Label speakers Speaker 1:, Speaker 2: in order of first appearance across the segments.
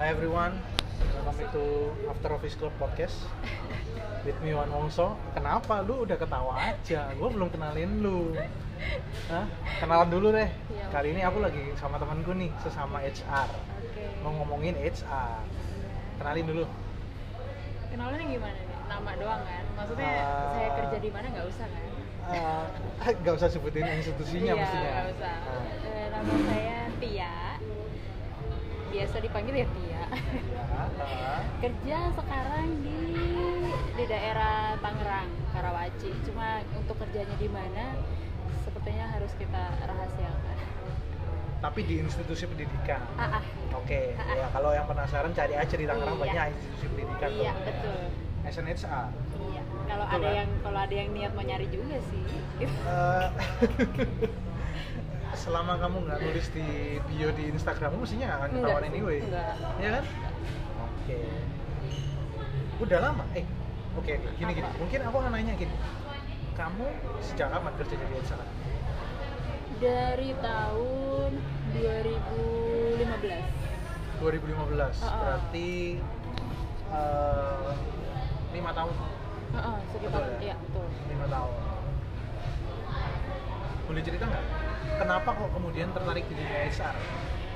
Speaker 1: Hi everyone, welcome to After Office Club Podcast with me Wan Wongso. Kenapa lu udah ketawa aja? Gue belum kenalin lu. Hah? Kenalan dulu deh.
Speaker 2: Iya.
Speaker 1: Kali ini aku lagi sama temanku nih, sesama HR.
Speaker 2: Oke.
Speaker 1: Mau ngomongin HR. Kenalin dulu.
Speaker 2: Kenalannya gimana nih? Nama doang kan? Maksudnya
Speaker 1: Ah.
Speaker 2: saya kerja di mana nggak usah kan?
Speaker 1: Eh, Nggak usah sebutin institusinya
Speaker 2: Iya,
Speaker 1: mestinya.
Speaker 2: nggak usah.
Speaker 1: Nah,
Speaker 2: Eh, nama saya Tia. Biasa dipanggil ya Tia.
Speaker 1: ya, eh,
Speaker 2: kerja sekarang di di daerah Tangerang, Karawaci. Cuma untuk kerjanya di mana sepertinya harus kita rahasiakan.
Speaker 1: tapi di institusi pendidikan.
Speaker 2: Ah, ah.
Speaker 1: Oke,
Speaker 2: Ah, ah.
Speaker 1: ya kalau yang penasaran cari aja di Tangerang
Speaker 2: Iya.
Speaker 1: banyak institusi pendidikan.
Speaker 2: Iya,
Speaker 1: tuh.
Speaker 2: betul.
Speaker 1: SNHA.
Speaker 2: Iya. Kalau
Speaker 1: Betul,
Speaker 2: ada
Speaker 1: kan?
Speaker 2: yang kalau ada yang niat mau nyari juga sih.
Speaker 1: Eh, selama kamu nggak nulis di bio di Instagrammu mestinya nggak akan ketahuan
Speaker 2: sih,
Speaker 1: anyway
Speaker 2: Enggak.
Speaker 1: Iya kan oke udah lama eh oke oke. gini gini
Speaker 2: Apa?
Speaker 1: mungkin aku akan nanya gini kamu sejak kapan kerja jadi HR
Speaker 2: dari tahun
Speaker 1: 2015
Speaker 2: 2015 Oh, oh.
Speaker 1: berarti eh, lima tahun
Speaker 2: Heeh, sekitar
Speaker 1: Betul ya?
Speaker 2: ya betul
Speaker 1: lima tahun boleh cerita nggak kenapa kok kemudian tertarik di dunia HR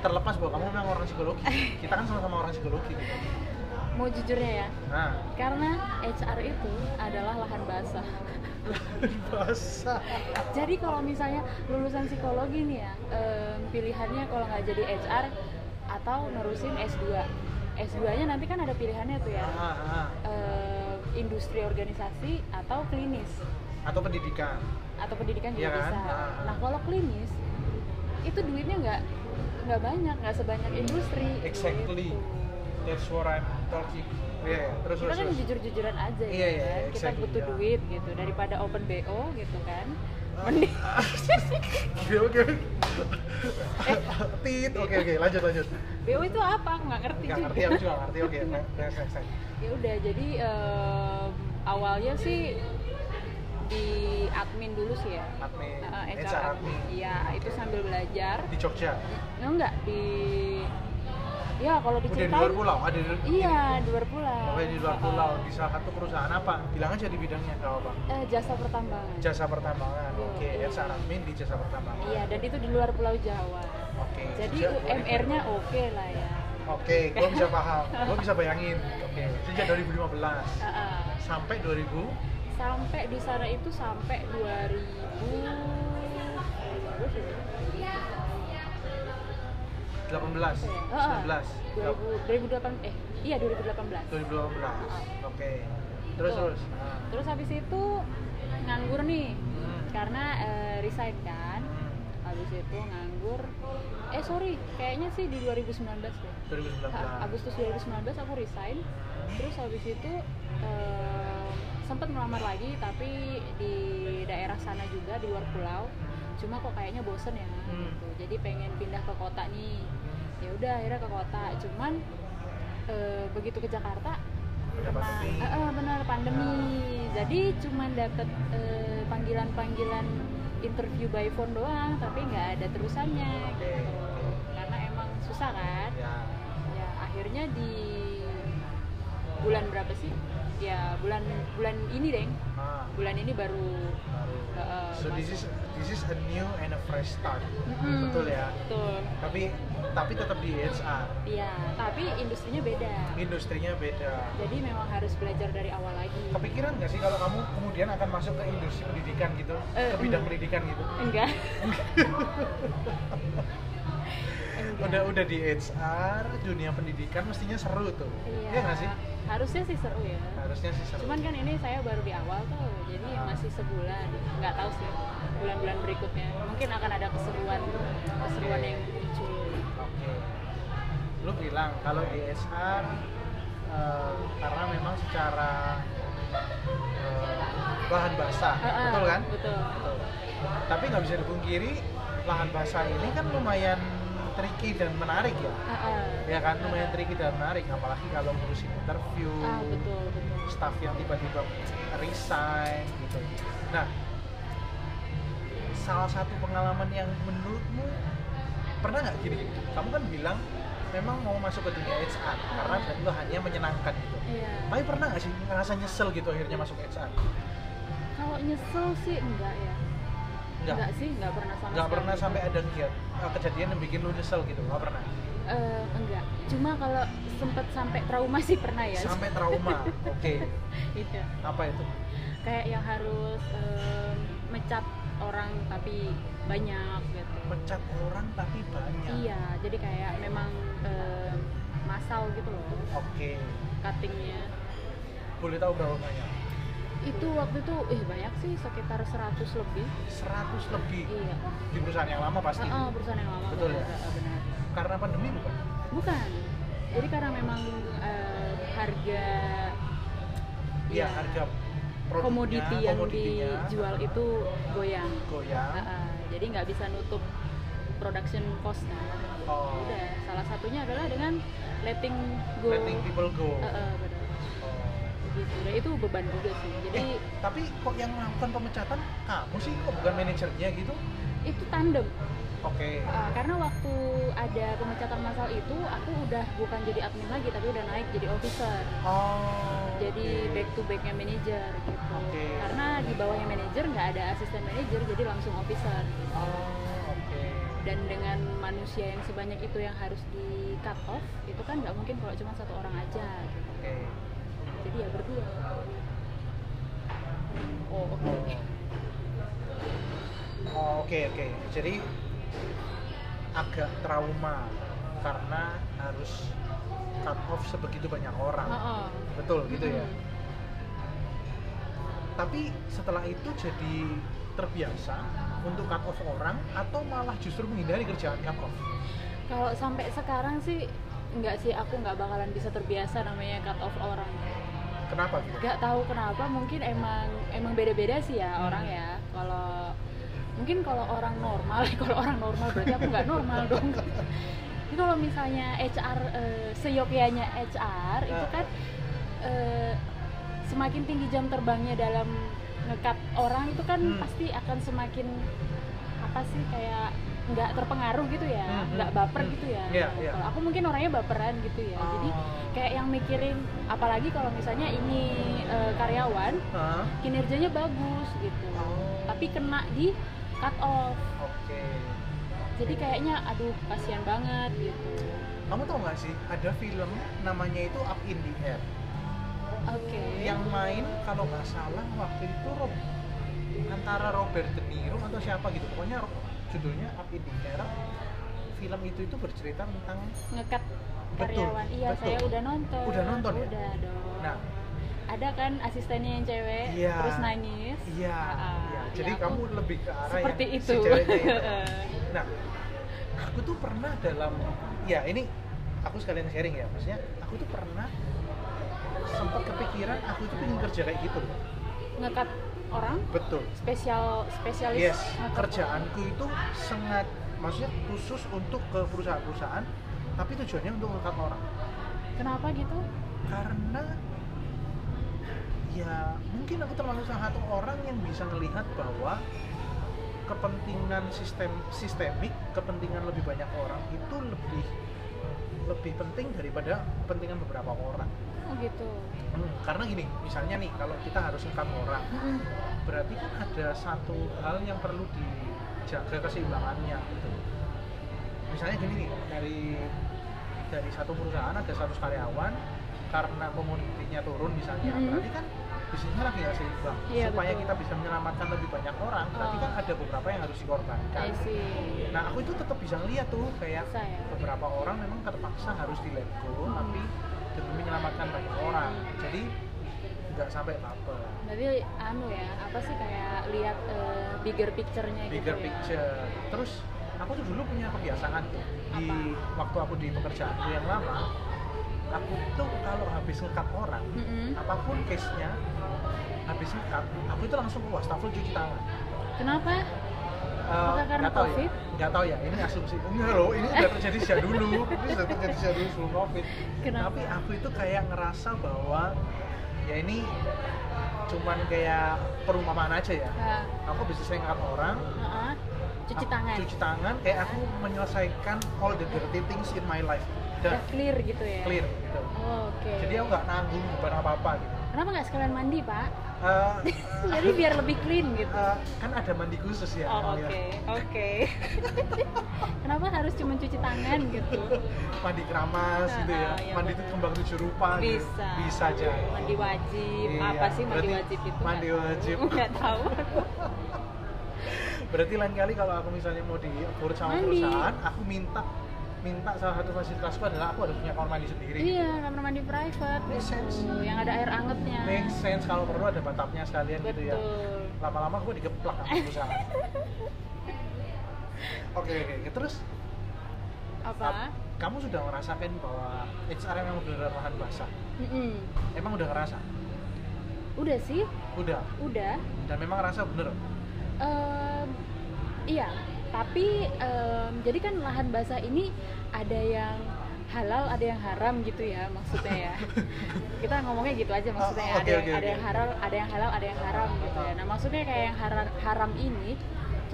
Speaker 1: terlepas bahwa kamu memang orang psikologi kita kan sama-sama orang psikologi gitu
Speaker 2: mau jujurnya ya
Speaker 1: nah
Speaker 2: karena HR itu adalah lahan basah
Speaker 1: bahasa
Speaker 2: jadi kalau misalnya lulusan psikologi nih ya em, pilihannya kalau nggak jadi HR atau nerusin S2 S2 nya nanti kan ada pilihannya tuh ya
Speaker 1: Ah, ah.
Speaker 2: Em, industri organisasi atau klinis
Speaker 1: atau pendidikan
Speaker 2: atau pendidikan juga
Speaker 1: Iya kan?
Speaker 2: bisa.
Speaker 1: Ah.
Speaker 2: Nah kalau klinis itu duitnya nggak nggak banyak, nggak sebanyak industri.
Speaker 1: Iya. Exactly.
Speaker 2: gitu.
Speaker 1: that's what I'm talking iya iya. terus
Speaker 2: Kita
Speaker 1: terus
Speaker 2: kan
Speaker 1: terus.
Speaker 2: jujur-jujuran aja
Speaker 1: Iya,
Speaker 2: ya,
Speaker 1: iya,
Speaker 2: kan? kita
Speaker 1: exactly,
Speaker 2: butuh
Speaker 1: iya.
Speaker 2: duit gitu daripada open bo gitu kan.
Speaker 1: Ah.
Speaker 2: Mending
Speaker 1: oke oke tit oke oke lanjut lanjut
Speaker 2: bo itu apa? Aku nggak ngerti
Speaker 1: nggak
Speaker 2: juga.
Speaker 1: ngerti aku juga nggak ngerti oke next next next
Speaker 2: ya udah jadi em, awalnya sih di admin dulu sih ya.
Speaker 1: admin
Speaker 2: Eh,
Speaker 1: HR admin
Speaker 2: Iya itu sambil belajar.
Speaker 1: di Jogja
Speaker 2: Enggak di ya kalau
Speaker 1: udah di luar
Speaker 2: diceritain
Speaker 1: pulau ada di
Speaker 2: Iya, di luar pulau.
Speaker 1: Pokoknya di luar
Speaker 2: Uh,
Speaker 1: pulau, di salah satu perusahaan apa? Bilang aja di bidangnya nggak apa
Speaker 2: eh, jasa pertambangan.
Speaker 1: Jasa pertambangan,
Speaker 2: Iya.
Speaker 1: oke. HR admin di jasa pertambangan.
Speaker 2: Iya, dan itu di luar pulau Jawa.
Speaker 1: Oke.
Speaker 2: Jadi
Speaker 1: sejak
Speaker 2: UMR-nya
Speaker 1: 2000.
Speaker 2: oke lah ya.
Speaker 1: Oke, gua bisa paham, gua bisa bayangin. Oke, sejak 2015
Speaker 2: Uh,
Speaker 1: sampai 2000.
Speaker 2: sampai di sana itu sampai 2000
Speaker 1: 18,
Speaker 2: Ah,
Speaker 1: 19,
Speaker 2: 2000 2008 eh iya 2018.
Speaker 1: 2018. Oke. Terus
Speaker 2: Betul.
Speaker 1: terus. Nah.
Speaker 2: Terus habis itu nganggur nih
Speaker 1: Hmm.
Speaker 2: karena eh, resign kan.
Speaker 1: Hmm.
Speaker 2: Habis itu nganggur. Eh sorry, kayaknya sih di 2019 deh.
Speaker 1: 2019.
Speaker 2: Ha- Agustus 2019 aku resign terus habis itu sempat melamar lagi tapi di daerah sana juga di luar pulau cuma kok kayaknya bosen ya
Speaker 1: Hmm.
Speaker 2: gitu jadi pengen pindah ke kota nih ya udah akhirnya ke kota cuman eh, begitu ke Jakarta
Speaker 1: Udah Nah. pasti.
Speaker 2: eh, eh, benar pandemi jadi cuman dapet eh, panggilan-panggilan interview by phone doang tapi nggak ada terusannya
Speaker 1: Oke.
Speaker 2: gitu karena emang susah kan
Speaker 1: Ya.
Speaker 2: ya akhirnya di bulan berapa sih ya bulan bulan ini deng
Speaker 1: Ah,
Speaker 2: bulan ini baru
Speaker 1: baru.
Speaker 2: eh,
Speaker 1: So this is
Speaker 2: masuk.
Speaker 1: this is a new and a fresh start.
Speaker 2: Mm-mm,
Speaker 1: Betul ya.
Speaker 2: betul
Speaker 1: Tapi tapi tetap di HR.
Speaker 2: iya tapi industrinya beda
Speaker 1: industrinya beda
Speaker 2: jadi memang harus belajar dari awal lagi
Speaker 1: kepikiran nggak sih kalau kamu kemudian akan masuk ke industri pendidikan gitu ke
Speaker 2: Eh,
Speaker 1: bidang
Speaker 2: enggak.
Speaker 1: pendidikan gitu
Speaker 2: enggak Enggak.
Speaker 1: udah udah di HR dunia pendidikan mestinya seru tuh
Speaker 2: iya
Speaker 1: nggak sih
Speaker 2: harusnya sih seru ya
Speaker 1: harusnya sih seru
Speaker 2: cuman kan ini saya baru di awal tuh jadi
Speaker 1: Ah.
Speaker 2: masih sebulan nggak tahu sih bulan-bulan berikutnya mungkin akan ada keseruan keseruan yang muncul
Speaker 1: oke lu bilang kalau di HR eh, karena memang secara eh, lahan basah
Speaker 2: Ah, ah,
Speaker 1: betul kan
Speaker 2: betul
Speaker 1: Betul. tapi nggak bisa dipungkiri lahan basah ini kan lumayan tricky dan menarik ya
Speaker 2: Ah, ah.
Speaker 1: ya kan lumayan tricky dan menarik apalagi kalau ngurusin interview
Speaker 2: ah betul betul
Speaker 1: staff yang tiba-tiba resign gitu nah salah satu pengalaman yang menurutmu pernah nggak gini kamu kan bilang memang mau masuk ke dunia HR karena
Speaker 2: Hmm.
Speaker 1: lo hanya menyenangkan gitu
Speaker 2: Iya.
Speaker 1: tapi pernah nggak sih ngerasa nyesel gitu akhirnya masuk HR
Speaker 2: Kalau nyesel sih enggak ya.
Speaker 1: nggak
Speaker 2: sih, enggak pernah sama
Speaker 1: nggak
Speaker 2: sekali.
Speaker 1: pernah sampai ada kia- eh, kejadian yang bikin lo nyesel gitu nggak pernah
Speaker 2: Eh, enggak. Cuma kalau sempet sampai trauma sih pernah ya.
Speaker 1: sampai trauma oke
Speaker 2: Iya.
Speaker 1: apa itu
Speaker 2: Kayak yang harus em, mecat orang tapi banyak gitu.
Speaker 1: pecat orang tapi banyak
Speaker 2: Iya, jadi kayak memang em, masal gitu loh
Speaker 1: oke
Speaker 2: cuttingnya.
Speaker 1: boleh tahu berapa banyak
Speaker 2: Itu waktu itu eh banyak sih sekitar 100 lebih.
Speaker 1: 100 lebih
Speaker 2: Iya.
Speaker 1: di perusahaan yang lama pasti
Speaker 2: Heeh, perusahaan yang lama.
Speaker 1: Betul ya?
Speaker 2: Heeh, benar.
Speaker 1: karena pandemi bukan Iya,
Speaker 2: Bukan. Jadi karena memang eh, harga ya,
Speaker 1: iya harga produknya
Speaker 2: komoditi yang
Speaker 1: komoditinya ya.
Speaker 2: dijual itu goyang.
Speaker 1: goyang
Speaker 2: Ah, jadi nggak bisa nutup production cost nah.
Speaker 1: oh,
Speaker 2: Udah, salah satunya adalah dengan letting go.
Speaker 1: letting people go
Speaker 2: Ah, ah, benar.
Speaker 1: Oh.
Speaker 2: Gitu. Dan itu beban juga sih. Jadi
Speaker 1: Eh, tapi kok yang melakukan pemecatan kamu sih kok bukan manajernya gitu
Speaker 2: itu tandem.
Speaker 1: oke
Speaker 2: Ah, karena waktu ada pemecatan massal itu aku udah bukan jadi admin lagi tapi udah naik jadi officer.
Speaker 1: oh
Speaker 2: jadi
Speaker 1: oke.
Speaker 2: back to backnya manajer gitu
Speaker 1: Oke.
Speaker 2: karena di bawahnya manajer nggak ada asisten manajer jadi langsung officer gitu.
Speaker 1: oh oke
Speaker 2: dan dengan manusia yang sebanyak itu yang harus di cut off itu kan nggak mungkin kalau cuma satu orang aja gitu.
Speaker 1: oke
Speaker 2: jadi ya berdua oh oke
Speaker 1: oh oke oke jadi agak trauma karena harus cut off sebegitu banyak
Speaker 2: Oh,
Speaker 1: orang
Speaker 2: oh.
Speaker 1: betul gitu ya
Speaker 2: Mm-mm.
Speaker 1: tapi setelah itu jadi terbiasa untuk cut off orang atau malah justru menghindari kerjaan cut off
Speaker 2: kalau sampai sekarang sih nggak sih aku nggak bakalan bisa terbiasa namanya cut off orang ya.
Speaker 1: kenapa gitu
Speaker 2: nggak tahu kenapa mungkin emang emang beda-beda sih
Speaker 1: Hmm.
Speaker 2: ya orang ya kalau mungkin kalau orang normal kalau orang normal berarti aku nggak normal dong Jadi kalau misalnya HR eh, seyogyanya HR itu kan eh, semakin tinggi jam terbangnya dalam ngekat orang itu kan
Speaker 1: Hmm.
Speaker 2: pasti akan semakin apa sih kayak nggak terpengaruh gitu ya
Speaker 1: Hmm, hmm,
Speaker 2: nggak baper
Speaker 1: hmm.
Speaker 2: gitu ya
Speaker 1: Iya, iya.
Speaker 2: kalau aku mungkin orangnya baperan gitu ya jadi
Speaker 1: Oh.
Speaker 2: kayak yang mikirin apalagi kalau misalnya ini eh, karyawan
Speaker 1: Hah?
Speaker 2: kinerjanya bagus gitu
Speaker 1: Oh.
Speaker 2: tapi kena di cut off
Speaker 1: Oke.
Speaker 2: jadi kayaknya aduh kasihan banget gitu
Speaker 1: Kamu tau nggak sih ada film namanya itu Up in the Air
Speaker 2: oke
Speaker 1: yang main kalau nggak salah waktu itu Rob antara Robert De Niro atau siapa gitu pokoknya Ro- judulnya Up in the Air film itu itu bercerita tentang
Speaker 2: ngekat
Speaker 1: Betul,
Speaker 2: karyawan iya
Speaker 1: betul.
Speaker 2: saya udah nonton
Speaker 1: Udah nonton ya?
Speaker 2: udah dong
Speaker 1: nah
Speaker 2: ada kan asistennya yang cewek
Speaker 1: Iya.
Speaker 2: terus nangis
Speaker 1: iya
Speaker 2: Ah,
Speaker 1: iya.
Speaker 2: ya,
Speaker 1: jadi
Speaker 2: aku
Speaker 1: kamu lebih ke arah
Speaker 2: seperti
Speaker 1: yang
Speaker 2: itu Eh.
Speaker 1: si ceweknya itu. Nah, aku tuh pernah dalam ya ini aku sekalian sharing ya, maksudnya aku tuh pernah sempat kepikiran aku tuh pengen kerja kayak gitu. loh.
Speaker 2: ngekat orang
Speaker 1: Betul.
Speaker 2: spesial spesialis
Speaker 1: Yes,
Speaker 2: ngekat
Speaker 1: kerjaanku itu sangat maksudnya khusus untuk ke perusahaan-perusahaan, tapi tujuannya untuk mengangkat orang.
Speaker 2: orang. kenapa gitu
Speaker 1: Karena ya mungkin aku termasuk salah satu orang yang bisa melihat bahwa kepentingan sistem sistemik, kepentingan lebih banyak orang itu lebih lebih penting daripada kepentingan beberapa orang.
Speaker 2: oh gitu
Speaker 1: Hmm, karena gini, misalnya nih kalau kita harus ngangkat orang,
Speaker 2: Mm-mm.
Speaker 1: berarti kan ada satu hal yang perlu dijaga keseimbangannya gitu. Misalnya gini nih, dari dari satu perusahaan ada 100 karyawan karena komoditinya turun misalnya,
Speaker 2: Mhm.
Speaker 1: berarti kan bisnisnya lagi nggak seimbang.
Speaker 2: Iya,
Speaker 1: Supaya
Speaker 2: betul.
Speaker 1: kita bisa menyelamatkan lebih banyak orang, berarti
Speaker 2: Oh.
Speaker 1: kan ada beberapa yang harus dikorbankan.
Speaker 2: I see.
Speaker 1: Nah aku itu tetap bisa lihat tuh kayak
Speaker 2: Bisa ya?
Speaker 1: beberapa orang memang terpaksa harus di let go, tapi
Speaker 2: Mm-hmm.
Speaker 1: demi menyelamatkan banyak orang. Jadi nggak sampai baper.
Speaker 2: Berarti anu ya, apa sih kayak lihat eh, bigger picture-nya gitu
Speaker 1: bigger
Speaker 2: ya.
Speaker 1: picture. Terus aku tuh dulu punya kebiasaan tuh di waktu aku di pekerjaanku yang lama, aku tuh kalau habis ngekat orang,
Speaker 2: Mm-mm.
Speaker 1: apapun case-nya, habis ngekat, aku itu langsung ke wastafel cuci tangan.
Speaker 2: Kenapa?
Speaker 1: Eh,
Speaker 2: Apakah karena
Speaker 1: nggak tahu ya,
Speaker 2: COVID?
Speaker 1: nggak tahu ya. Ini asumsi. Enggak loh, ini udah terjadi sejak dulu. Ini sudah terjadi sejak dulu sebelum COVID.
Speaker 2: Kenapa?
Speaker 1: Tapi aku itu kayak ngerasa bahwa ya ini cuman kayak perumpamaan aja ya.
Speaker 2: Ah,
Speaker 1: Aku bisa saya ngangkat orang,
Speaker 2: ah, ah. cuci
Speaker 1: Aku
Speaker 2: tangan.
Speaker 1: Eh, cuci tangan kayak aku menyelesaikan all the dirty things in my life Udah.
Speaker 2: udah clear gitu ya
Speaker 1: clear gitu
Speaker 2: Oh, oke
Speaker 1: jadi aku nggak nanggung beban apa apa gitu
Speaker 2: kenapa nggak sekalian mandi pak
Speaker 1: Eh,
Speaker 2: jadi biar lebih clean gitu
Speaker 1: eh, kan ada mandi khusus ya
Speaker 2: oh oke
Speaker 1: namanya.
Speaker 2: oke kenapa harus cuma cuci tangan gitu
Speaker 1: mandi keramas gitu ya
Speaker 2: Ah, ah, iya,
Speaker 1: mandi itu
Speaker 2: bener.
Speaker 1: kembang tujuh rupa gitu.
Speaker 2: Bisa.
Speaker 1: bisa aja
Speaker 2: mandi wajib
Speaker 1: Iya,
Speaker 2: apa sih mandi
Speaker 1: berarti
Speaker 2: wajib itu
Speaker 1: mandi
Speaker 2: nggak tahu.
Speaker 1: wajib.
Speaker 2: nggak tahu aku.
Speaker 1: berarti lain kali kalau aku misalnya mau diukur sama
Speaker 2: Mandi.
Speaker 1: perusahaan aku minta minta salah satu fasilitasku adalah aku harus punya kamar mandi sendiri
Speaker 2: iya kamar mandi private
Speaker 1: Make sense.
Speaker 2: gitu yang ada air angetnya
Speaker 1: make sense kalau perlu ada batapnya sekalian gitu ya
Speaker 2: betul
Speaker 1: lama-lama gue digeplak sama perusahaan oke oke oke. terus
Speaker 2: apa
Speaker 1: ap- kamu sudah merasakan bahwa HR yang memang benar lahan basah
Speaker 2: Mm-mm.
Speaker 1: emang udah ngerasa
Speaker 2: udah sih
Speaker 1: udah
Speaker 2: udah
Speaker 1: dan memang ngerasa bener
Speaker 2: Em, iya, tapi em, jadi kan lahan basah ini ada yang halal, ada yang haram gitu ya maksudnya ya. Kita ngomongnya gitu aja maksudnya ya,
Speaker 1: Oh, oke,
Speaker 2: ada, yang-
Speaker 1: oke,
Speaker 2: ada
Speaker 1: oke.
Speaker 2: yang halal, ada yang halal, ada yang haram gitu ya. Nah maksudnya kayak yang haram, haram ini,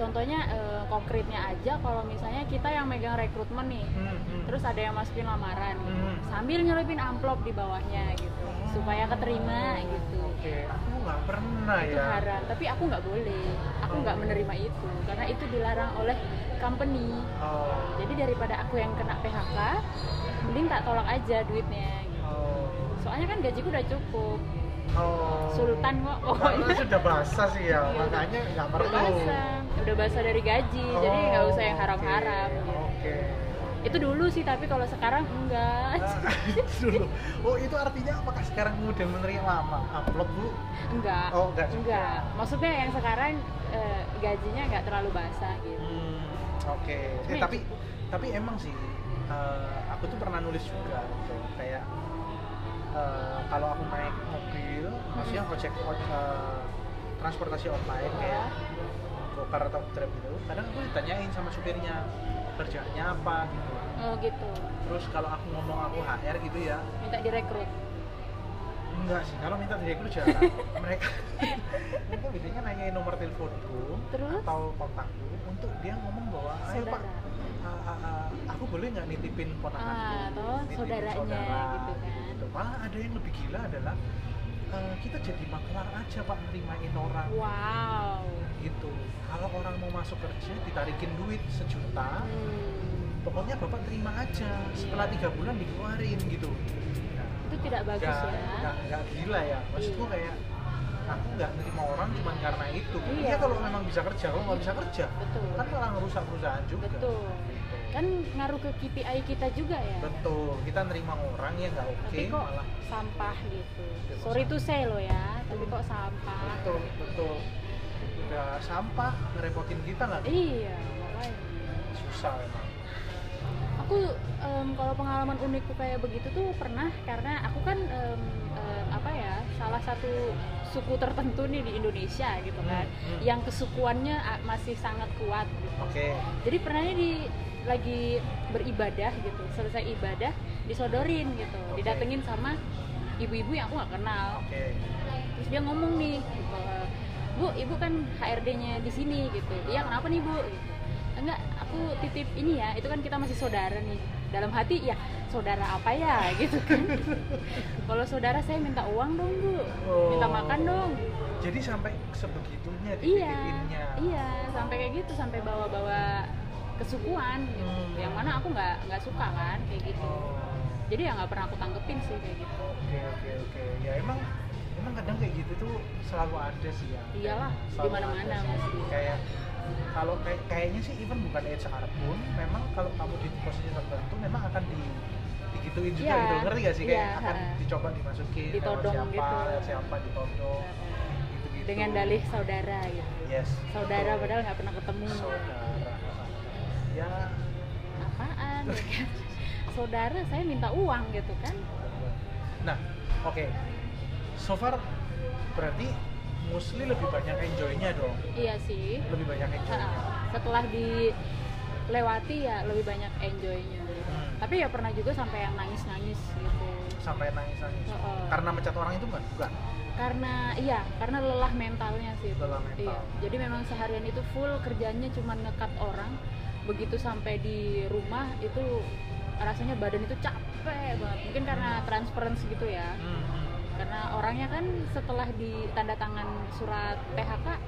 Speaker 2: contohnya eh, konkretnya aja kalau misalnya kita yang megang rekrutmen nih,
Speaker 1: Hmm, hmm.
Speaker 2: terus ada yang masukin lamaran gitu,
Speaker 1: Hmm.
Speaker 2: sambil nyelipin amplop di bawahnya gitu, supaya keterima gitu
Speaker 1: oke aku nggak pernah
Speaker 2: itu
Speaker 1: ya
Speaker 2: haram tapi aku nggak boleh aku nggak menerima itu karena itu dilarang oleh company
Speaker 1: oh,
Speaker 2: jadi daripada aku yang kena PHK mending tak tolak aja duitnya gitu.
Speaker 1: oh,
Speaker 2: soalnya kan gajiku udah cukup
Speaker 1: oh.
Speaker 2: Sultan kok pokoknya.
Speaker 1: Karena sudah basah sih ya
Speaker 2: Iya.
Speaker 1: makanya nggak
Speaker 2: udah
Speaker 1: perlu
Speaker 2: basah udah basah dari gaji jadi nggak usah yang haram-haram
Speaker 1: Oh, oke,
Speaker 2: gitu.
Speaker 1: oke
Speaker 2: itu dulu sih tapi kalau sekarang enggak
Speaker 1: Ah, dulu. Oh itu artinya apakah sekarang udah menerima lama amplop bu?
Speaker 2: enggak
Speaker 1: Oh, enggak juga.
Speaker 2: enggak maksudnya yang sekarang eh, gajinya nggak terlalu basah gitu
Speaker 1: Hmm, oke. Eh,
Speaker 2: Nih.
Speaker 1: tapi tapi emang sih eh, aku tuh pernah nulis juga gitu kayak eh, kalau aku naik mobil, maksudnya ojek ojek eh, transportasi online kayak gokar atau grab gitu, kadang aku ditanyain sama supirnya kerjanya apa gitu.
Speaker 2: oh gitu
Speaker 1: Terus kalau aku ngomong aku HR gitu ya,
Speaker 2: minta direkrut
Speaker 1: enggak sih. Kalau minta direkrut jarang. mereka mereka biasanya nanyain nomor teleponku
Speaker 2: Terus?
Speaker 1: atau kontakku untuk dia ngomong bahwa ayo pak
Speaker 2: saudara
Speaker 1: Ah, ah, ah, aku boleh nggak nitipin
Speaker 2: ah
Speaker 1: ponakan
Speaker 2: toh saudaranya gitu kan
Speaker 1: malah ada yang lebih gila adalah eh, kita jadi maklar aja pak nerimain orang
Speaker 2: wow
Speaker 1: gitu kalau orang mau masuk kerja ditarikin duit sejuta
Speaker 2: Hmm.
Speaker 1: pokoknya bapak terima aja setelah
Speaker 2: Iya.
Speaker 1: tiga bulan dikeluarin gitu
Speaker 2: itu tidak bagus
Speaker 1: Nggak-
Speaker 2: ya
Speaker 1: nggak- nggak gila ya maksudku
Speaker 2: Iya.
Speaker 1: kayak aku nggak nerima orang cuma karena itu
Speaker 2: Iya.
Speaker 1: iya kalau memang bisa kerja kalau nggak bisa kerja
Speaker 2: betul
Speaker 1: kan malah ngerusak perusahaan juga
Speaker 2: betul
Speaker 1: Gitu.
Speaker 2: kan ngaruh ke KPI kita juga ya
Speaker 1: Betul, kita nerima orang yang nggak oke
Speaker 2: tapi kok
Speaker 1: malah
Speaker 2: sampah gitu
Speaker 1: Tapi kok
Speaker 2: sorry tuh saya lo ya tapi kok sampah
Speaker 1: betul betul udah sampah ngerepotin kita nggak
Speaker 2: iya makanya
Speaker 1: susah emang.
Speaker 2: aku em, kalau pengalaman unikku kayak begitu tuh pernah karena aku kan em, em, apa ya salah satu suku tertentu nih di Indonesia gitu kan
Speaker 1: Hmm, hmm.
Speaker 2: yang kesukuannya ah, masih sangat kuat gitu.
Speaker 1: Oke,
Speaker 2: jadi pernahnya di lagi beribadah gitu selesai ibadah disodorin gitu
Speaker 1: Oke.
Speaker 2: didatengin sama ibu-ibu yang aku nggak kenal
Speaker 1: oke,
Speaker 2: terus dia ngomong nih gitu, bu ibu kan HRD-nya di sini gitu iya kenapa nih bu gitu. enggak aku titip ini ya itu kan kita masih saudara nih dalam hati ya saudara apa ya gitu kan kalau saudara saya minta uang dong bu minta
Speaker 1: Oh.
Speaker 2: makan dong
Speaker 1: Jadi sampai sebegitunya
Speaker 2: iya
Speaker 1: dipikirinnya.
Speaker 2: iya sampai kayak gitu sampai bawa-bawa kesukuan gitu
Speaker 1: Hmm.
Speaker 2: yang mana aku nggak nggak suka kan kayak gitu
Speaker 1: Oh,
Speaker 2: jadi ya nggak pernah aku tanggepin sih kayak gitu
Speaker 1: Oke oke oke. Ya emang emang kadang kayak gitu tuh selalu ada sih ya.
Speaker 2: Iyalah,
Speaker 1: Selalu
Speaker 2: di mana-mana
Speaker 1: ada sih.
Speaker 2: pasti.
Speaker 1: Kayak kalau kayak- kayaknya sih even bukan HR pun, memang kalau kamu di posisi tertentu memang akan di digituin juga
Speaker 2: Iya,
Speaker 1: gitu ngerti gak sih kayak
Speaker 2: iya,
Speaker 1: akan
Speaker 2: ha.
Speaker 1: dicoba dimasukin
Speaker 2: Ditodong
Speaker 1: lewat siapa
Speaker 2: gitu. Iya.
Speaker 1: lewat siapa ditodong gitu gitu
Speaker 2: dengan dalih saudara gitu
Speaker 1: yes
Speaker 2: saudara
Speaker 1: betul.
Speaker 2: padahal nggak pernah ketemu
Speaker 1: saudara ya
Speaker 2: apaan ya kan? saudara saya minta uang gitu kan
Speaker 1: nah oke so far berarti Musli lebih banyak enjoy-nya dong
Speaker 2: iya sih
Speaker 1: lebih banyak enjoy-nya
Speaker 2: Ha-ha. setelah dilewati ya lebih banyak enjoynya
Speaker 1: Hmm.
Speaker 2: tapi ya pernah juga sampai yang nangis nangis gitu
Speaker 1: sampai nangis-nangis
Speaker 2: Heeh.
Speaker 1: karena mencat orang itu bukan bukan
Speaker 2: karena iya karena lelah mentalnya sih itu.
Speaker 1: Lelah mental.
Speaker 2: Iya. jadi memang seharian itu full kerjanya cuma ngekat orang begitu sampai di rumah itu rasanya badan itu capek banget mungkin karena transparansi gitu ya
Speaker 1: Hmm, hmm.
Speaker 2: karena orangnya kan setelah ditanda tangan surat PHK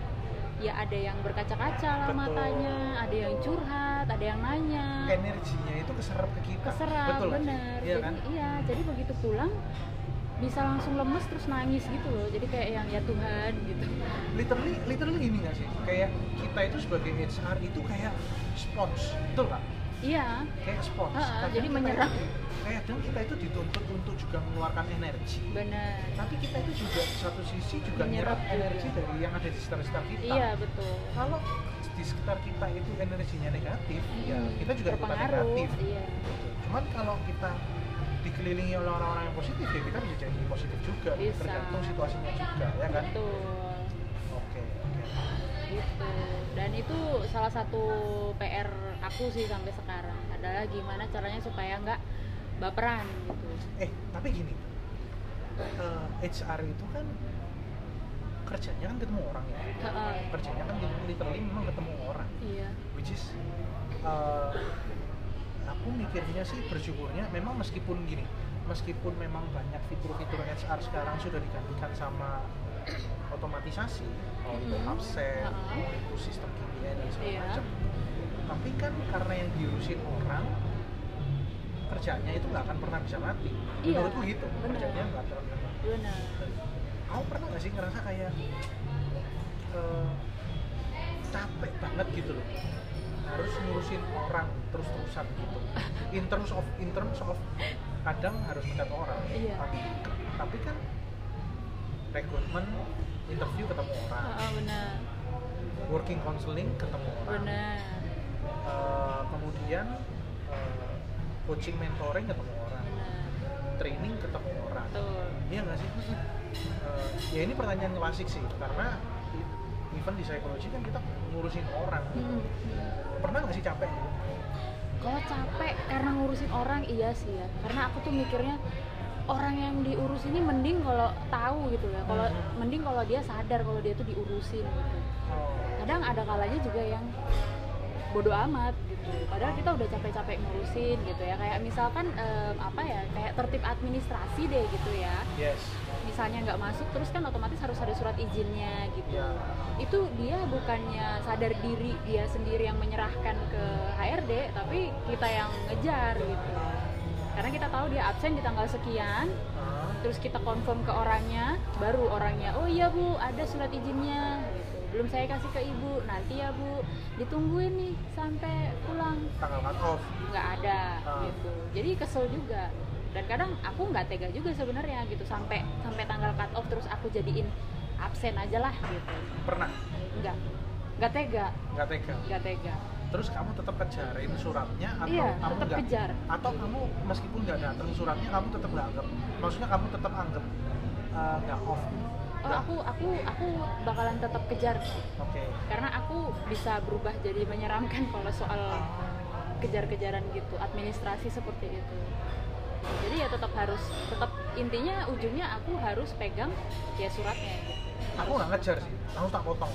Speaker 2: ya ada yang berkaca-kaca lah
Speaker 1: Betul.
Speaker 2: matanya ada yang curhat ada yang nanya
Speaker 1: energinya itu keserap ke kita
Speaker 2: keserap
Speaker 1: betul nggak sih?
Speaker 2: bener
Speaker 1: iya
Speaker 2: jadi
Speaker 1: kan
Speaker 2: iya jadi begitu pulang bisa langsung lemes terus nangis gitu loh jadi kayak yang ya Tuhan gitu
Speaker 1: literally literally gini nggak sih kayak kita itu sebagai HR itu kayak spons betul nggak
Speaker 2: iya
Speaker 1: kayak spons
Speaker 2: Ha-ha,
Speaker 1: Kadang
Speaker 2: jadi
Speaker 1: kita
Speaker 2: menyerap.
Speaker 1: itu- kayak kadang kita itu dituntut untuk juga mengeluarkan energi
Speaker 2: bener
Speaker 1: tapi kita itu juga di satu sisi juga
Speaker 2: Menyerap
Speaker 1: menyerap
Speaker 2: juga.
Speaker 1: energi dari yang ada di sekitar kita
Speaker 2: iya betul
Speaker 1: kalau di sekitar kita itu energinya negatif ya
Speaker 2: Hmm,
Speaker 1: kita juga ikutan
Speaker 2: berpengaruh,
Speaker 1: negatif
Speaker 2: iya
Speaker 1: cuman kalau kita dikelilingi oleh orang-orang yang positif ya kita bisa jadi positif juga
Speaker 2: Bisa.
Speaker 1: tergantung situasinya juga ya kan
Speaker 2: betul
Speaker 1: oke oke
Speaker 2: gitu dan itu salah satu PR aku sih sampai sekarang adalah gimana caranya supaya nggak baperan
Speaker 1: eh
Speaker 2: gitu
Speaker 1: tapi gini eh, HR itu kan kerjanya kan ketemu orang ya
Speaker 2: Heeh.
Speaker 1: kerjanya kan literally memang ketemu orang
Speaker 2: iya
Speaker 1: which is uh, aku mikirnya sih bersyukurnya memang meskipun gini meskipun memang banyak fitur-fitur HR sekarang sudah digantikan sama otomatisasi mau itu
Speaker 2: Mhm.
Speaker 1: absen
Speaker 2: Ha-ha.
Speaker 1: mau itu sistem KPI dan segala
Speaker 2: Iya.
Speaker 1: macam tapi kan karena yang diurusin orang kerjanya itu nggak akan pernah bisa mati
Speaker 2: Iya,
Speaker 1: menurutku gitu
Speaker 2: benar.
Speaker 1: kerjanya nggak akan pernah mati
Speaker 2: benar
Speaker 1: kamu pernah nggak sih ngerasa kayak eh, capek banget gitu loh harus ngurusin orang terus terusan gitu in terms of in terms of kadang harus mecat orang
Speaker 2: Iya.
Speaker 1: tapi tapi kan rekrutmen interview ketemu orang
Speaker 2: Heeh, benar
Speaker 1: working counseling ketemu orang
Speaker 2: benar
Speaker 1: Eh, kemudian eh, coaching mentoring ketemu orang
Speaker 2: benar
Speaker 1: training ketemu orang
Speaker 2: betul
Speaker 1: Iya nggak sih? Eh, ya ini pertanyaan klasik sih, karena i- even di psikologi kan kita ngurusin orang.
Speaker 2: Mm.
Speaker 1: Pernah nggak sih capek?
Speaker 2: kalau Oh, capek karena ngurusin orang iya sih ya karena aku tuh mikirnya orang yang diurus ini mending kalau tahu gitu ya kalau
Speaker 1: Mhm.
Speaker 2: mending kalau dia sadar kalau dia tuh diurusin gitu
Speaker 1: Oh,
Speaker 2: kadang ada kalanya juga yang bodoh amat gitu padahal kita udah capek-capek ngurusin gitu ya kayak misalkan em, apa ya kayak tertib administrasi deh gitu ya
Speaker 1: yes.
Speaker 2: misalnya nggak masuk terus kan otomatis harus ada surat izinnya gitu
Speaker 1: Ya.
Speaker 2: itu dia bukannya sadar diri dia sendiri yang menyerahkan ke HRD tapi kita yang ngejar gitu karena kita tahu dia absen di tanggal sekian
Speaker 1: Ah,
Speaker 2: terus kita confirm ke orangnya baru orangnya oh iya bu ada surat izinnya gitu. belum saya kasih ke ibu nanti ya bu ditungguin nih sampai pulang
Speaker 1: tanggal Oh, cut off.
Speaker 2: nggak ada
Speaker 1: Ah.
Speaker 2: gitu jadi kesel juga dan kadang aku nggak tega juga sebenarnya gitu sampai sampai tanggal cut off terus aku jadiin absen aja lah gitu
Speaker 1: Pernah?
Speaker 2: nggak nggak tega
Speaker 1: Nggak tega.
Speaker 2: nggak tega
Speaker 1: Terus kamu tetap kejarin suratnya atau
Speaker 2: iya
Speaker 1: kamu
Speaker 2: tetap
Speaker 1: nggak?
Speaker 2: kejar
Speaker 1: Atau kamu meskipun nggak datang suratnya, kamu tetap nggak anggap. Maksudnya kamu tetap anggap eh, nggak off.
Speaker 2: oh aku aku aku bakalan tetap kejar sih.
Speaker 1: Oke.
Speaker 2: karena aku bisa berubah jadi menyeramkan kalau soal
Speaker 1: Ah,
Speaker 2: kejar-kejaran gitu administrasi seperti itu jadi ya tetap harus tetap intinya ujungnya aku harus pegang ya suratnya gitu.
Speaker 1: Aku nggak ngejar sih, langsung tak potong.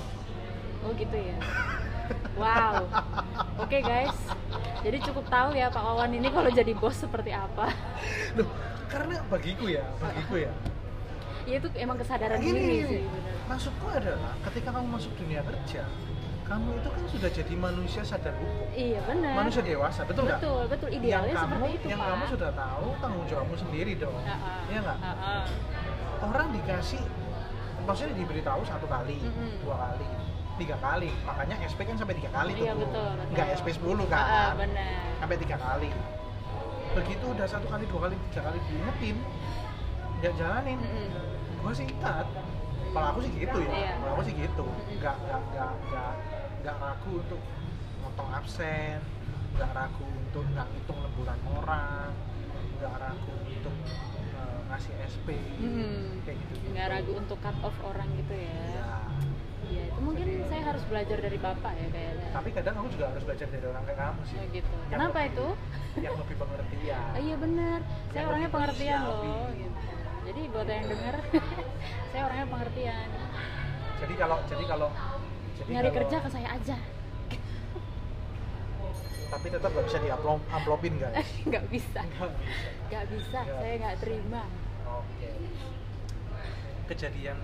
Speaker 2: oh gitu ya wow oke guys jadi cukup tahu ya Pak Wawan ini kalau jadi bos seperti apa
Speaker 1: Loh, karena bagiku ya, bagiku ya,
Speaker 2: ya itu emang kesadaran
Speaker 1: Gini,
Speaker 2: diri
Speaker 1: gini.
Speaker 2: sih bener.
Speaker 1: Maksudku adalah ketika kamu masuk dunia kerja, kamu itu kan sudah jadi manusia sadar hukum,
Speaker 2: iya benar
Speaker 1: manusia dewasa, betul nggak?
Speaker 2: betul betul idealnya
Speaker 1: yang kamu,
Speaker 2: seperti itu
Speaker 1: yang
Speaker 2: Pak
Speaker 1: kamu sudah tahu tanggung jawabmu sendiri dong.
Speaker 2: Heeh.
Speaker 1: Iya nggak?
Speaker 2: Heeh.
Speaker 1: Orang dikasih, maksudnya diberitahu satu kali,
Speaker 2: Mm-mm.
Speaker 1: dua kali, tiga kali, makanya SP kan sampai tiga kali
Speaker 2: Iya,
Speaker 1: tuh,
Speaker 2: betul, betul.
Speaker 1: nggak SP 10 kan,
Speaker 2: Heeh, benar
Speaker 1: sampai tiga kali. Begitu udah satu kali, dua kali, tiga kali diingetin, nggak jalanin,
Speaker 2: Mm-mm.
Speaker 1: gue singkat kalau aku sih gitu ya
Speaker 2: Iya.
Speaker 1: kalau aku sih gitu
Speaker 2: Mm-mm.
Speaker 1: nggak nggak nggak nggak nggak ragu untuk motong absen nggak ragu untuk nggak hitung lemburan orang nggak ragu untuk eh, ngasih sp
Speaker 2: Mm-mm.
Speaker 1: kayak gitu
Speaker 2: nggak ragu untuk cut off orang gitu ya
Speaker 1: ya
Speaker 2: Iya, itu mungkin saya harus belajar dari bapak ya kayaknya
Speaker 1: tapi kadang aku juga harus belajar dari orang kayak kamu sih
Speaker 2: Ya gitu
Speaker 1: Yang
Speaker 2: kenapa
Speaker 1: lebih-
Speaker 2: itu
Speaker 1: yang lebih pengertian
Speaker 2: Oh, iya bener saya
Speaker 1: Yang
Speaker 2: orangnya
Speaker 1: lebih
Speaker 2: pengertian
Speaker 1: manusiawi.
Speaker 2: loh gitu jadi buat yang denger saya orangnya pengertian
Speaker 1: jadi kalau jadi kalau jadi
Speaker 2: nyari
Speaker 1: kalau-
Speaker 2: kerja ke saya aja
Speaker 1: tapi tetap nggak bisa diamplop amplopin guys
Speaker 2: nggak bisa
Speaker 1: nggak bisa
Speaker 2: nggak bisa
Speaker 1: Nggak
Speaker 2: saya nggak
Speaker 1: bisa.
Speaker 2: terima
Speaker 1: oke kejadian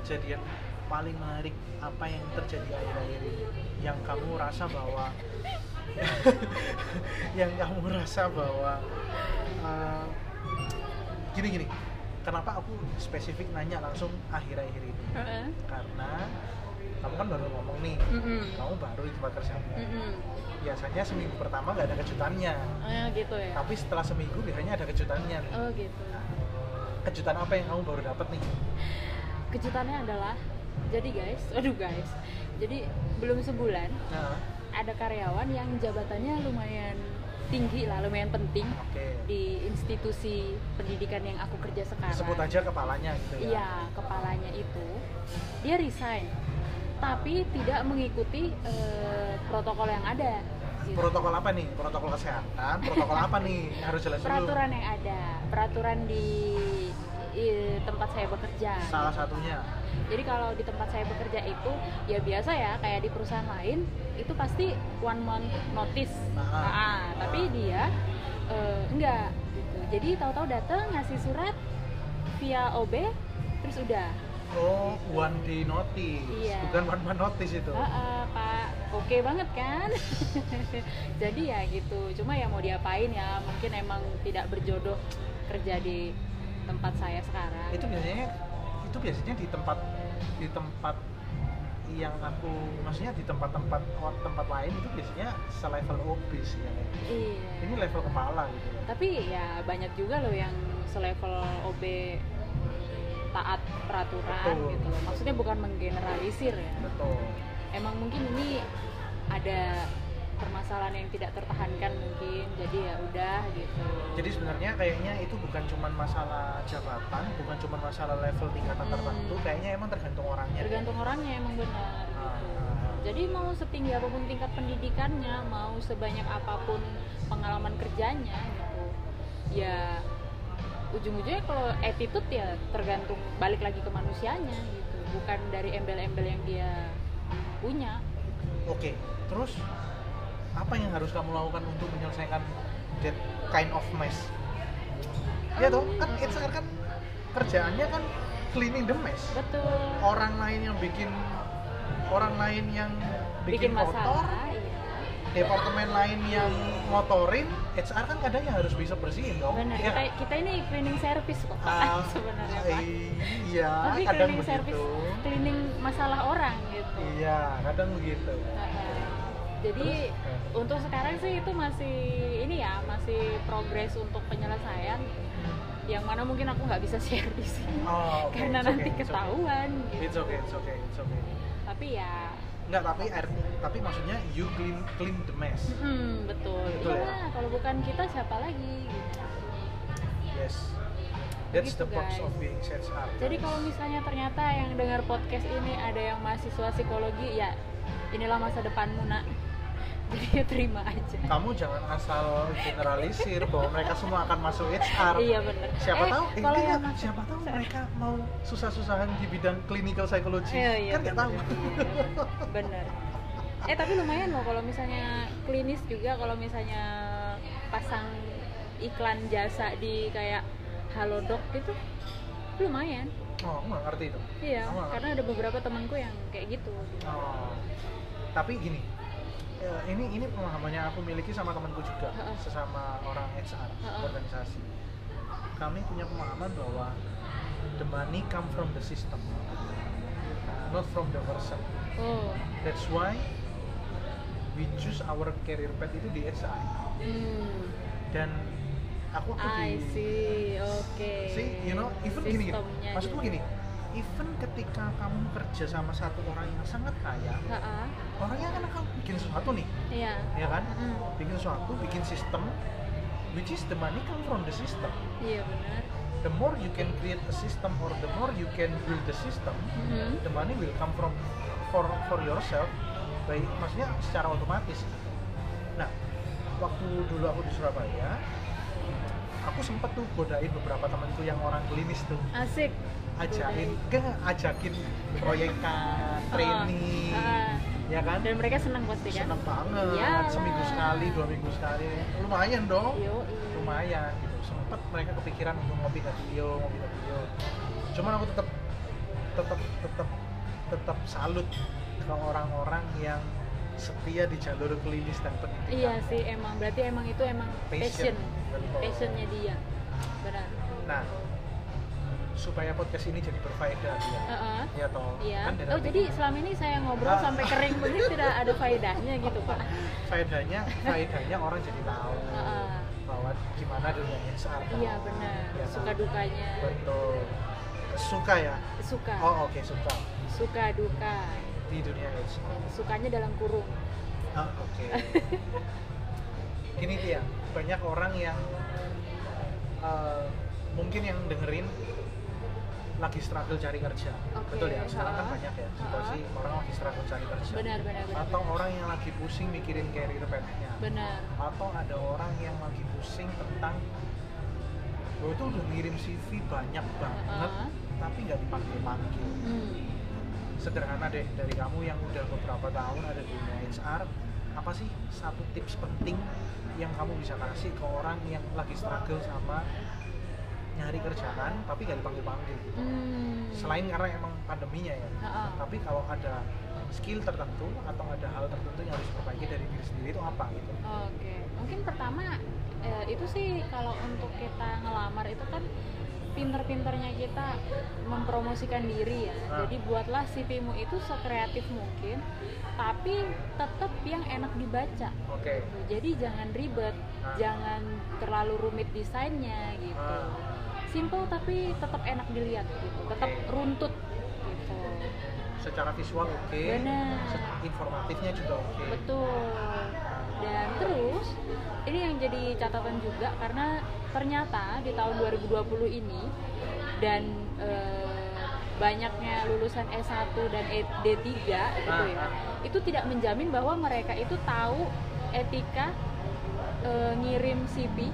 Speaker 1: kejadian paling menarik apa yang terjadi akhir-akhir ini yang kamu rasa bahwa yang kamu rasa bahwa eh, gini-gini kenapa aku spesifik nanya langsung akhir-akhir ini
Speaker 2: Heeh.
Speaker 1: karena kamu kan baru ngomong nih
Speaker 2: Mm-mm.
Speaker 1: kamu baru di tempat kerjamu
Speaker 2: Mm-mm.
Speaker 1: biasanya seminggu pertama nggak ada kejutannya
Speaker 2: Eh, gitu ya
Speaker 1: tapi setelah seminggu biasanya ada kejutannya nih.
Speaker 2: oh gitu
Speaker 1: Nah, kejutan apa yang kamu baru dapat nih
Speaker 2: kejutannya adalah jadi guys aduh guys jadi belum sebulan
Speaker 1: nah
Speaker 2: ada karyawan yang jabatannya lumayan tinggi lah lumayan penting
Speaker 1: oke
Speaker 2: di institusi pendidikan yang aku kerja sekarang
Speaker 1: sebut aja kepalanya gitu ya
Speaker 2: Iya, kepalanya itu dia resign, tapi tidak mengikuti eh, protokol yang ada. gitu.
Speaker 1: protokol apa nih protokol kesehatan protokol apa nih harus jelas dulu
Speaker 2: Peraturan yang ada, peraturan di i- tempat saya bekerja.
Speaker 1: salah satunya
Speaker 2: Jadi kalau di tempat saya bekerja itu ya biasa ya, kayak di perusahaan lain itu pasti one month notice.
Speaker 1: Ah.
Speaker 2: Ah, tapi dia eh, enggak gitu. Jadi tahu-tahu datang ngasih surat via OB terus udah
Speaker 1: oh one day notice
Speaker 2: Iya.
Speaker 1: bukan one month notice itu
Speaker 2: Ah, ah, Pak, oke banget kan? Jadi ya gitu. Cuma ya mau diapain ya? Mungkin emang tidak berjodoh kerja di tempat saya sekarang.
Speaker 1: itu biasanya itu biasanya di tempat di tempat yang aku maksudnya di tempat-tempat oh, tempat lain itu biasanya selevel OB sih ya. ini
Speaker 2: Iya.
Speaker 1: level kepala gitu ya.
Speaker 2: Tapi ya banyak juga loh yang selevel OB taat peraturan
Speaker 1: Betul.
Speaker 2: gitu loh. Maksudnya bukan menggeneralisir ya.
Speaker 1: betul
Speaker 2: Emang mungkin ini ada permasalahan yang tidak tertahankan mungkin. Jadi ya udah gitu.
Speaker 1: jadi sebenarnya kayaknya itu bukan cuman masalah jabatan bukan cuman masalah level tingkatan
Speaker 2: Hmm.
Speaker 1: tertentu kayaknya emang tergantung orangnya
Speaker 2: tergantung orangnya emang benar
Speaker 1: Ah,
Speaker 2: gitu.
Speaker 1: ah, ah.
Speaker 2: Jadi mau setinggi apapun tingkat pendidikannya, mau sebanyak apapun pengalaman kerjanya gitu. Ya ujung-ujungnya kalau attitude ya tergantung balik lagi ke manusianya gitu, bukan dari embel-embel yang dia punya.
Speaker 1: oke terus apa yang harus kamu lakukan untuk menyelesaikan that kind of mess ya toh kan
Speaker 2: Hmm.
Speaker 1: HR kan kerjaannya kan cleaning the mess
Speaker 2: Betul.
Speaker 1: orang lain yang bikin orang lain yang bikin, kotor
Speaker 2: masalah, iya.
Speaker 1: departemen lain yang motorin HR kan kadang yang harus bisa bersihin dong
Speaker 2: Benar.
Speaker 1: Iya
Speaker 2: Kita,
Speaker 1: kan?
Speaker 2: kita ini cleaning service kok, Pak.
Speaker 1: Ah,
Speaker 2: sebenarnya, Pak.
Speaker 1: iya
Speaker 2: Tapi
Speaker 1: kadang
Speaker 2: cleaning service,
Speaker 1: begitu
Speaker 2: cleaning masalah orang gitu. Nah,
Speaker 1: iya kadang begitu
Speaker 2: Jadi
Speaker 1: Terus?
Speaker 2: untuk sekarang sih itu masih ini ya masih progres untuk penyelesaian yang mana mungkin aku nggak bisa share di sini
Speaker 1: oh, oke,
Speaker 2: karena
Speaker 1: it's okay,
Speaker 2: nanti
Speaker 1: it's okay.
Speaker 2: ketahuan. gitu.
Speaker 1: it's okay it's okay it's okay
Speaker 2: Tapi ya
Speaker 1: Enggak, tapi art- tapi maksudnya you clean clean the mess.
Speaker 2: hmm, betul.
Speaker 1: Betul ya?
Speaker 2: Iya kalau bukan kita siapa lagi? gitu.
Speaker 1: Yes. That's
Speaker 2: Begitu,
Speaker 1: the purpose
Speaker 2: guys.
Speaker 1: of being sales art.
Speaker 2: Jadi kalau misalnya ternyata yang dengar podcast ini ada yang mahasiswa psikologi ya inilah masa depanmu nak. Jadi ya terima aja.
Speaker 1: kamu jangan asal generalisir bahwa mereka semua akan masuk HR.
Speaker 2: Iya benar.
Speaker 1: Siapa
Speaker 2: Eh,
Speaker 1: tahu, eh,
Speaker 2: kalau
Speaker 1: enggak,
Speaker 2: yang masuk-
Speaker 1: siapa tahu mereka mau susah-susahan di bidang clinical psychology.
Speaker 2: Iya, iya,
Speaker 1: kan nggak tahu.
Speaker 2: Bener. Eh tapi lumayan loh kalau misalnya klinis juga kalau misalnya pasang iklan jasa di kayak Halodoc gitu lumayan.
Speaker 1: Oh, aku nggak ngerti itu.
Speaker 2: Iya,
Speaker 1: Sama.
Speaker 2: karena ada beberapa temanku yang kayak gitu.
Speaker 1: Oh. Tapi gini, eh, ini ini pemahamannya aku miliki sama temanku juga,
Speaker 2: Heeh.
Speaker 1: sesama orang HR
Speaker 2: Heeh.
Speaker 1: organisasi. Kami punya pemahaman bahwa the money come from the system, not from the person.
Speaker 2: Oh.
Speaker 1: That's why we choose our career path itu di HR.
Speaker 2: Hmm.
Speaker 1: Dan aku aku
Speaker 2: I
Speaker 1: di-
Speaker 2: see. Oke.
Speaker 1: See, you know, even gini, ya, gini.
Speaker 2: Sistemnya
Speaker 1: maksudku
Speaker 2: gitu.
Speaker 1: gini, even ketika kamu kerja sama satu orang yang sangat kaya,
Speaker 2: Ha-ha.
Speaker 1: orangnya kan akan bikin sesuatu nih,
Speaker 2: Iya.
Speaker 1: ya kan?
Speaker 2: Mm.
Speaker 1: Bikin sesuatu, bikin sistem, which is the money come from the system.
Speaker 2: Iya benar.
Speaker 1: The more you can create a system or the more you can build the system,
Speaker 2: Mhm.
Speaker 1: the money will come from for for yourself by maksudnya secara otomatis gitu. nah waktu dulu aku di Surabaya aku sempet tuh godain beberapa temanku yang orang klinis tuh
Speaker 2: Asik.
Speaker 1: ajakin ke ajakin proyekan training
Speaker 2: Oh, Ah, ah.
Speaker 1: ya kan
Speaker 2: dan mereka senang pasti kan
Speaker 1: seneng banget
Speaker 2: Iyalah.
Speaker 1: seminggu sekali dua minggu sekali lumayan dong
Speaker 2: yo
Speaker 1: lumayan gitu sempet mereka kepikiran untuk ngopi ke Rio ngopi ke Rio cuman aku tetap tetap tetap tetap salut ke orang-orang yang setia di jalur klinis dan pendidikan
Speaker 2: iya sih emang berarti emang itu emang passion
Speaker 1: Betul.
Speaker 2: passionnya dia benar
Speaker 1: nah supaya podcast ini jadi berfaedah ya
Speaker 2: Heeh.
Speaker 1: ya toh
Speaker 2: Iya.
Speaker 1: Kan dari
Speaker 2: Oh jadi selama ini saya ngobrol
Speaker 1: Ah.
Speaker 2: sampai kering begini tidak ada faedahnya gitu pak.
Speaker 1: faedahnya faedahnya orang jadi tahu
Speaker 2: Heeh.
Speaker 1: bahwa gimana dunia HR toh.
Speaker 2: Iya benar.
Speaker 1: Ya,
Speaker 2: Suka
Speaker 1: toh.
Speaker 2: dukanya.
Speaker 1: betul suka ya
Speaker 2: Suka.
Speaker 1: oh oke suka
Speaker 2: Suka duka.
Speaker 1: di dunia HR
Speaker 2: Sukanya dalam kurung.
Speaker 1: Ah, oke. Gini dia, banyak orang yang eh, mungkin yang dengerin lagi struggle cari kerja.
Speaker 2: Oke,
Speaker 1: Betul ya, sekarang kan
Speaker 2: ha.
Speaker 1: banyak ya
Speaker 2: Ha.
Speaker 1: situasi orang lagi struggle cari kerja.
Speaker 2: Benar benar benar.
Speaker 1: Atau orang yang lagi pusing mikirin career plannya.
Speaker 2: Benar.
Speaker 1: Atau ada orang yang lagi pusing tentang gue tuh udah ngirim CV banyak banget,
Speaker 2: Ha.
Speaker 1: tapi nggak dipanggil-panggil
Speaker 2: Hmm.
Speaker 1: sederhana deh dari kamu yang udah beberapa tahun ada di dunia HR apa sih satu tips penting yang kamu bisa kasih ke orang yang lagi struggle sama nyari kerjaan tapi gak dipanggil panggil
Speaker 2: Hmm.
Speaker 1: selain karena emang pandeminya ya
Speaker 2: Ha-ha.
Speaker 1: tapi kalau ada skill tertentu atau ada hal tertentu yang harus diperbaiki dari diri sendiri itu apa gitu
Speaker 2: Oke, mungkin pertama eh, itu sih kalau untuk kita ngelamar itu kan pinter-pinternya kita mempromosikan diri ya.
Speaker 1: Ah.
Speaker 2: Jadi buatlah CV-mu itu sekreatif mungkin, tapi tetap yang enak dibaca.
Speaker 1: oke
Speaker 2: Jadi jangan ribet,
Speaker 1: Ah.
Speaker 2: jangan terlalu rumit desainnya gitu.
Speaker 1: Ah,
Speaker 2: Simple tapi tetap enak dilihat gitu, tetap
Speaker 1: Oke.
Speaker 2: runtut gitu.
Speaker 1: secara visual oke
Speaker 2: Benar.
Speaker 1: se- informatifnya juga oke Ah,
Speaker 2: Betul. Dan terus ini yang jadi catatan juga karena ternyata di tahun 2020 ini dan eh, banyaknya lulusan S1 dan E- D3 gitu ya.
Speaker 1: Ah, ah.
Speaker 2: Itu tidak menjamin bahwa mereka itu tahu etika eh, ngirim CV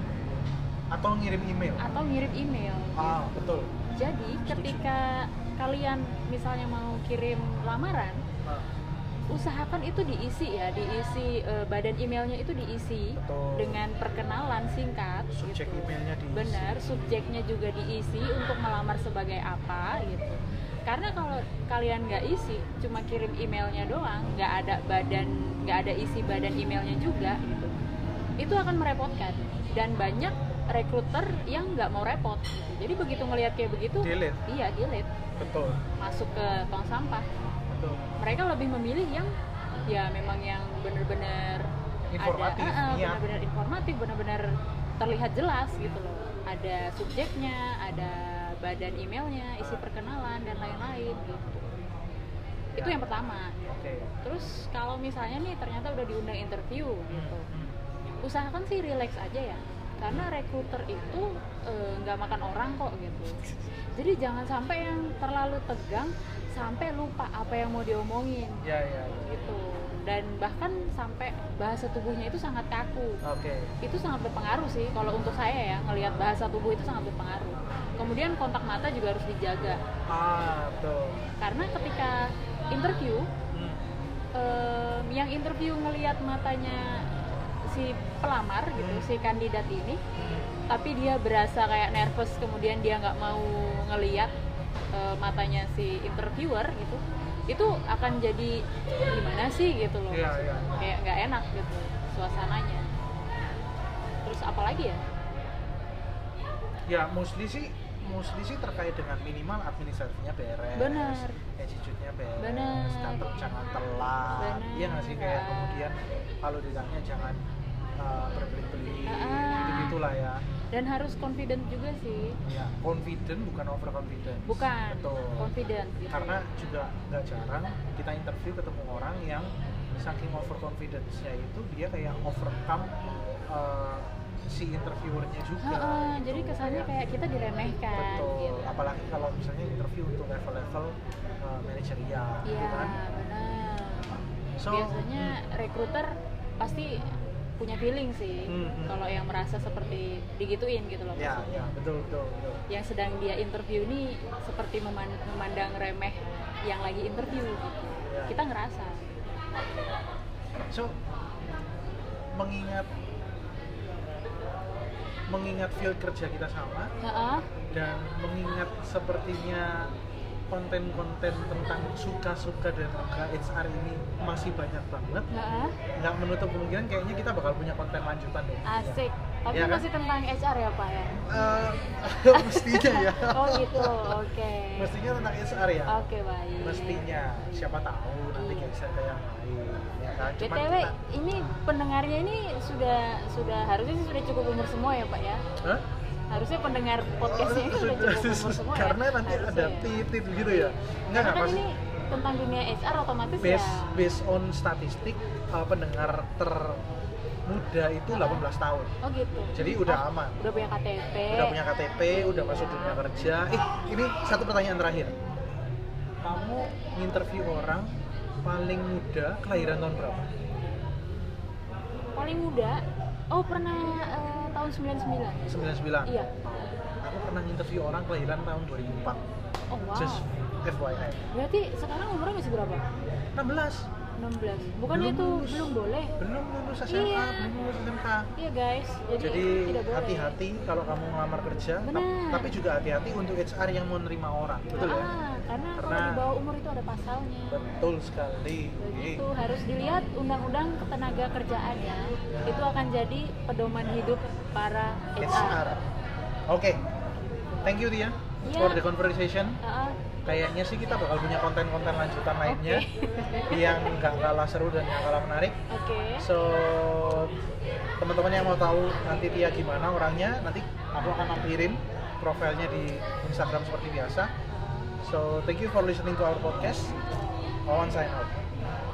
Speaker 1: atau ngirim email
Speaker 2: atau ngirim email.
Speaker 1: ah betul
Speaker 2: Jadi
Speaker 1: Setuju.
Speaker 2: ketika kalian misalnya mau kirim lamaran,
Speaker 1: Ah,
Speaker 2: usahakan itu diisi ya, diisi eh, badan emailnya itu diisi
Speaker 1: betul
Speaker 2: dengan perkenalan singkat
Speaker 1: subjek
Speaker 2: gitu.
Speaker 1: emailnya diisi
Speaker 2: Benar, subjeknya juga diisi untuk melamar sebagai apa gitu. Karena kalau kalian nggak isi, cuma kirim emailnya doang, nggak ada badan, nggak ada isi badan emailnya juga gitu. Itu akan merepotkan dan banyak rekruter yang nggak mau repot. Gitu. Jadi begitu ngelihat kayak begitu,
Speaker 1: delete
Speaker 2: iya delete,
Speaker 1: betul
Speaker 2: masuk ke tong sampah.
Speaker 1: betul
Speaker 2: Mereka lebih memilih yang ya memang yang bener-bener
Speaker 1: informatif iya.
Speaker 2: ada eh, eh,
Speaker 1: niat
Speaker 2: benar-benar informatif benar-benar terlihat jelas gitu loh ada subjeknya ada badan emailnya isi perkenalan dan lain-lain gitu itu
Speaker 1: Ya.
Speaker 2: yang pertama
Speaker 1: oke
Speaker 2: terus kalau misalnya nih ternyata udah diundang interview gitu
Speaker 1: Hmm.
Speaker 2: usahakan sih relax aja ya karena rekruter itu eh, nggak makan orang kok gitu jadi jangan sampai yang terlalu tegang sampai lupa apa yang mau diomongin
Speaker 1: ya ya ya.
Speaker 2: gitu dan bahkan sampai bahasa tubuhnya itu sangat kaku
Speaker 1: oke
Speaker 2: itu sangat berpengaruh sih kalau untuk saya ya ngelihat bahasa tubuh itu sangat berpengaruh kemudian kontak mata juga harus dijaga
Speaker 1: ah tuh
Speaker 2: karena ketika interview
Speaker 1: Hmm,
Speaker 2: em, yang interview ngelihat matanya si pelamar gitu
Speaker 1: Hmm.
Speaker 2: si kandidat ini
Speaker 1: hmm.
Speaker 2: tapi dia berasa kayak nervous kemudian dia nggak mau ngelihat eh, matanya si interviewer gitu itu akan jadi gimana sih gitu loh
Speaker 1: Iya, iya.
Speaker 2: kayak nggak enak gitu suasananya terus apalagi ya
Speaker 1: ya mostly sih mostly sih terkait dengan minimal administrasinya beres
Speaker 2: Benar.
Speaker 1: attitude-nya beres
Speaker 2: Benar.
Speaker 1: dan ter- jangan telat
Speaker 2: Benar.
Speaker 1: iya nggak sih kayak kemudian kalau ditanya jangan uh, berbelit-belit
Speaker 2: Ah, ah.
Speaker 1: gitu gitulah ya
Speaker 2: dan harus confident juga sih
Speaker 1: ya confident bukan overconfident
Speaker 2: bukan
Speaker 1: betul
Speaker 2: confident gitu
Speaker 1: karena juga nggak jarang kita interview ketemu orang yang saking overconfidence-nya itu dia kayak overcome uh, si interviewernya juga
Speaker 2: Ha-ha,
Speaker 1: gitu.
Speaker 2: jadi kesannya kayak kita diremehkan
Speaker 1: betul
Speaker 2: gitu
Speaker 1: apalagi kalau misalnya interview untuk level-level uh, manajerial gitu
Speaker 2: iya
Speaker 1: kan
Speaker 2: benar
Speaker 1: So,
Speaker 2: biasanya
Speaker 1: hmm.
Speaker 2: rekruter pasti punya feeling sih
Speaker 1: Hmm, hmm.
Speaker 2: kalau yang merasa seperti digituin gitu loh
Speaker 1: ya ya betul betul, betul.
Speaker 2: yang sedang dia interview ini seperti meman- memandang remeh yang lagi interview gitu.
Speaker 1: Ya.
Speaker 2: kita ngerasa
Speaker 1: so mengingat mengingat field kerja kita sama
Speaker 2: Heeh.
Speaker 1: dan mengingat sepertinya konten-konten tentang suka-suka dan suka HR ini masih banyak banget
Speaker 2: Heeh.
Speaker 1: nggak menutup kemungkinan kayaknya kita bakal punya konten lanjutan deh
Speaker 2: Asik. Tapi
Speaker 1: Iya kan?
Speaker 2: masih tentang HR ya Pak ya?
Speaker 1: Eh, mestinya ya
Speaker 2: Oh gitu, oke.
Speaker 1: mestinya tentang HR ya
Speaker 2: Oke baik.
Speaker 1: mestinya siapa tahu nanti kayak bisa kayak yang lain ya kan Cuman
Speaker 2: BTW
Speaker 1: kita-
Speaker 2: ini pendengarnya ini sudah sudah harusnya sih sudah cukup umur semua ya Pak ya.
Speaker 1: Hah?
Speaker 2: Harusnya pendengar podcastnya ini sudah cukup umur semua ya.
Speaker 1: karena nanti ada
Speaker 2: Harusnya ya.
Speaker 1: titit gitu ya enggak
Speaker 2: Karena
Speaker 1: enggak
Speaker 2: kan
Speaker 1: pasti
Speaker 2: ini tentang dunia HR otomatis
Speaker 1: based
Speaker 2: ya.
Speaker 1: based on statistik uh, pendengar termuda itu 18 tahun
Speaker 2: Oh gitu.
Speaker 1: jadi udah
Speaker 2: Oh,
Speaker 1: aman
Speaker 2: udah punya KTP.
Speaker 1: udah punya KTP udah masuk dunia kerja eh ini satu pertanyaan terakhir kamu interview orang paling muda kelahiran tahun berapa
Speaker 2: Paling muda. Oh pernah eh, tahun 99.
Speaker 1: 99
Speaker 2: Iya.
Speaker 1: aku pernah interview orang kelahiran tahun 2004
Speaker 2: Oh wow.
Speaker 1: just FYI
Speaker 2: Berarti sekarang umurnya masih berapa?
Speaker 1: 16
Speaker 2: 16.
Speaker 1: Belum
Speaker 2: Bukannya itu
Speaker 1: lulus.
Speaker 2: belum boleh?
Speaker 1: belum lulus SMA
Speaker 2: Iya.
Speaker 1: belum lulus SMK
Speaker 2: Iya guys. Jadi,
Speaker 1: jadi
Speaker 2: tidak boleh.
Speaker 1: hati-hati kalau kamu ngelamar kerja tap-
Speaker 2: Benar.
Speaker 1: tapi juga hati-hati untuk HR yang mau nerima orang betul ya
Speaker 2: Ah, karena kalau
Speaker 1: Karena-
Speaker 2: di bawah umur itu ada pasalnya.
Speaker 1: betul sekali
Speaker 2: Begitu harus dilihat undang-undang ketenaga kerjaan ya. Itu akan jadi pedoman hidup para
Speaker 1: HR,
Speaker 2: HR.
Speaker 1: oke thank you Tia
Speaker 2: Iya.
Speaker 1: for the conversation
Speaker 2: Ah, ah.
Speaker 1: kayaknya sih kita bakal punya konten-konten lanjutan lainnya
Speaker 2: Oke.
Speaker 1: yang nggak kalah seru dan nggak kalah menarik
Speaker 2: Oke.
Speaker 1: So teman-teman yang mau tahu nanti Tia gimana orangnya, nanti aku akan ampirin profilnya di Instagram seperti biasa. So thank you for listening to our podcast. Wawan sign out.
Speaker 2: Oke.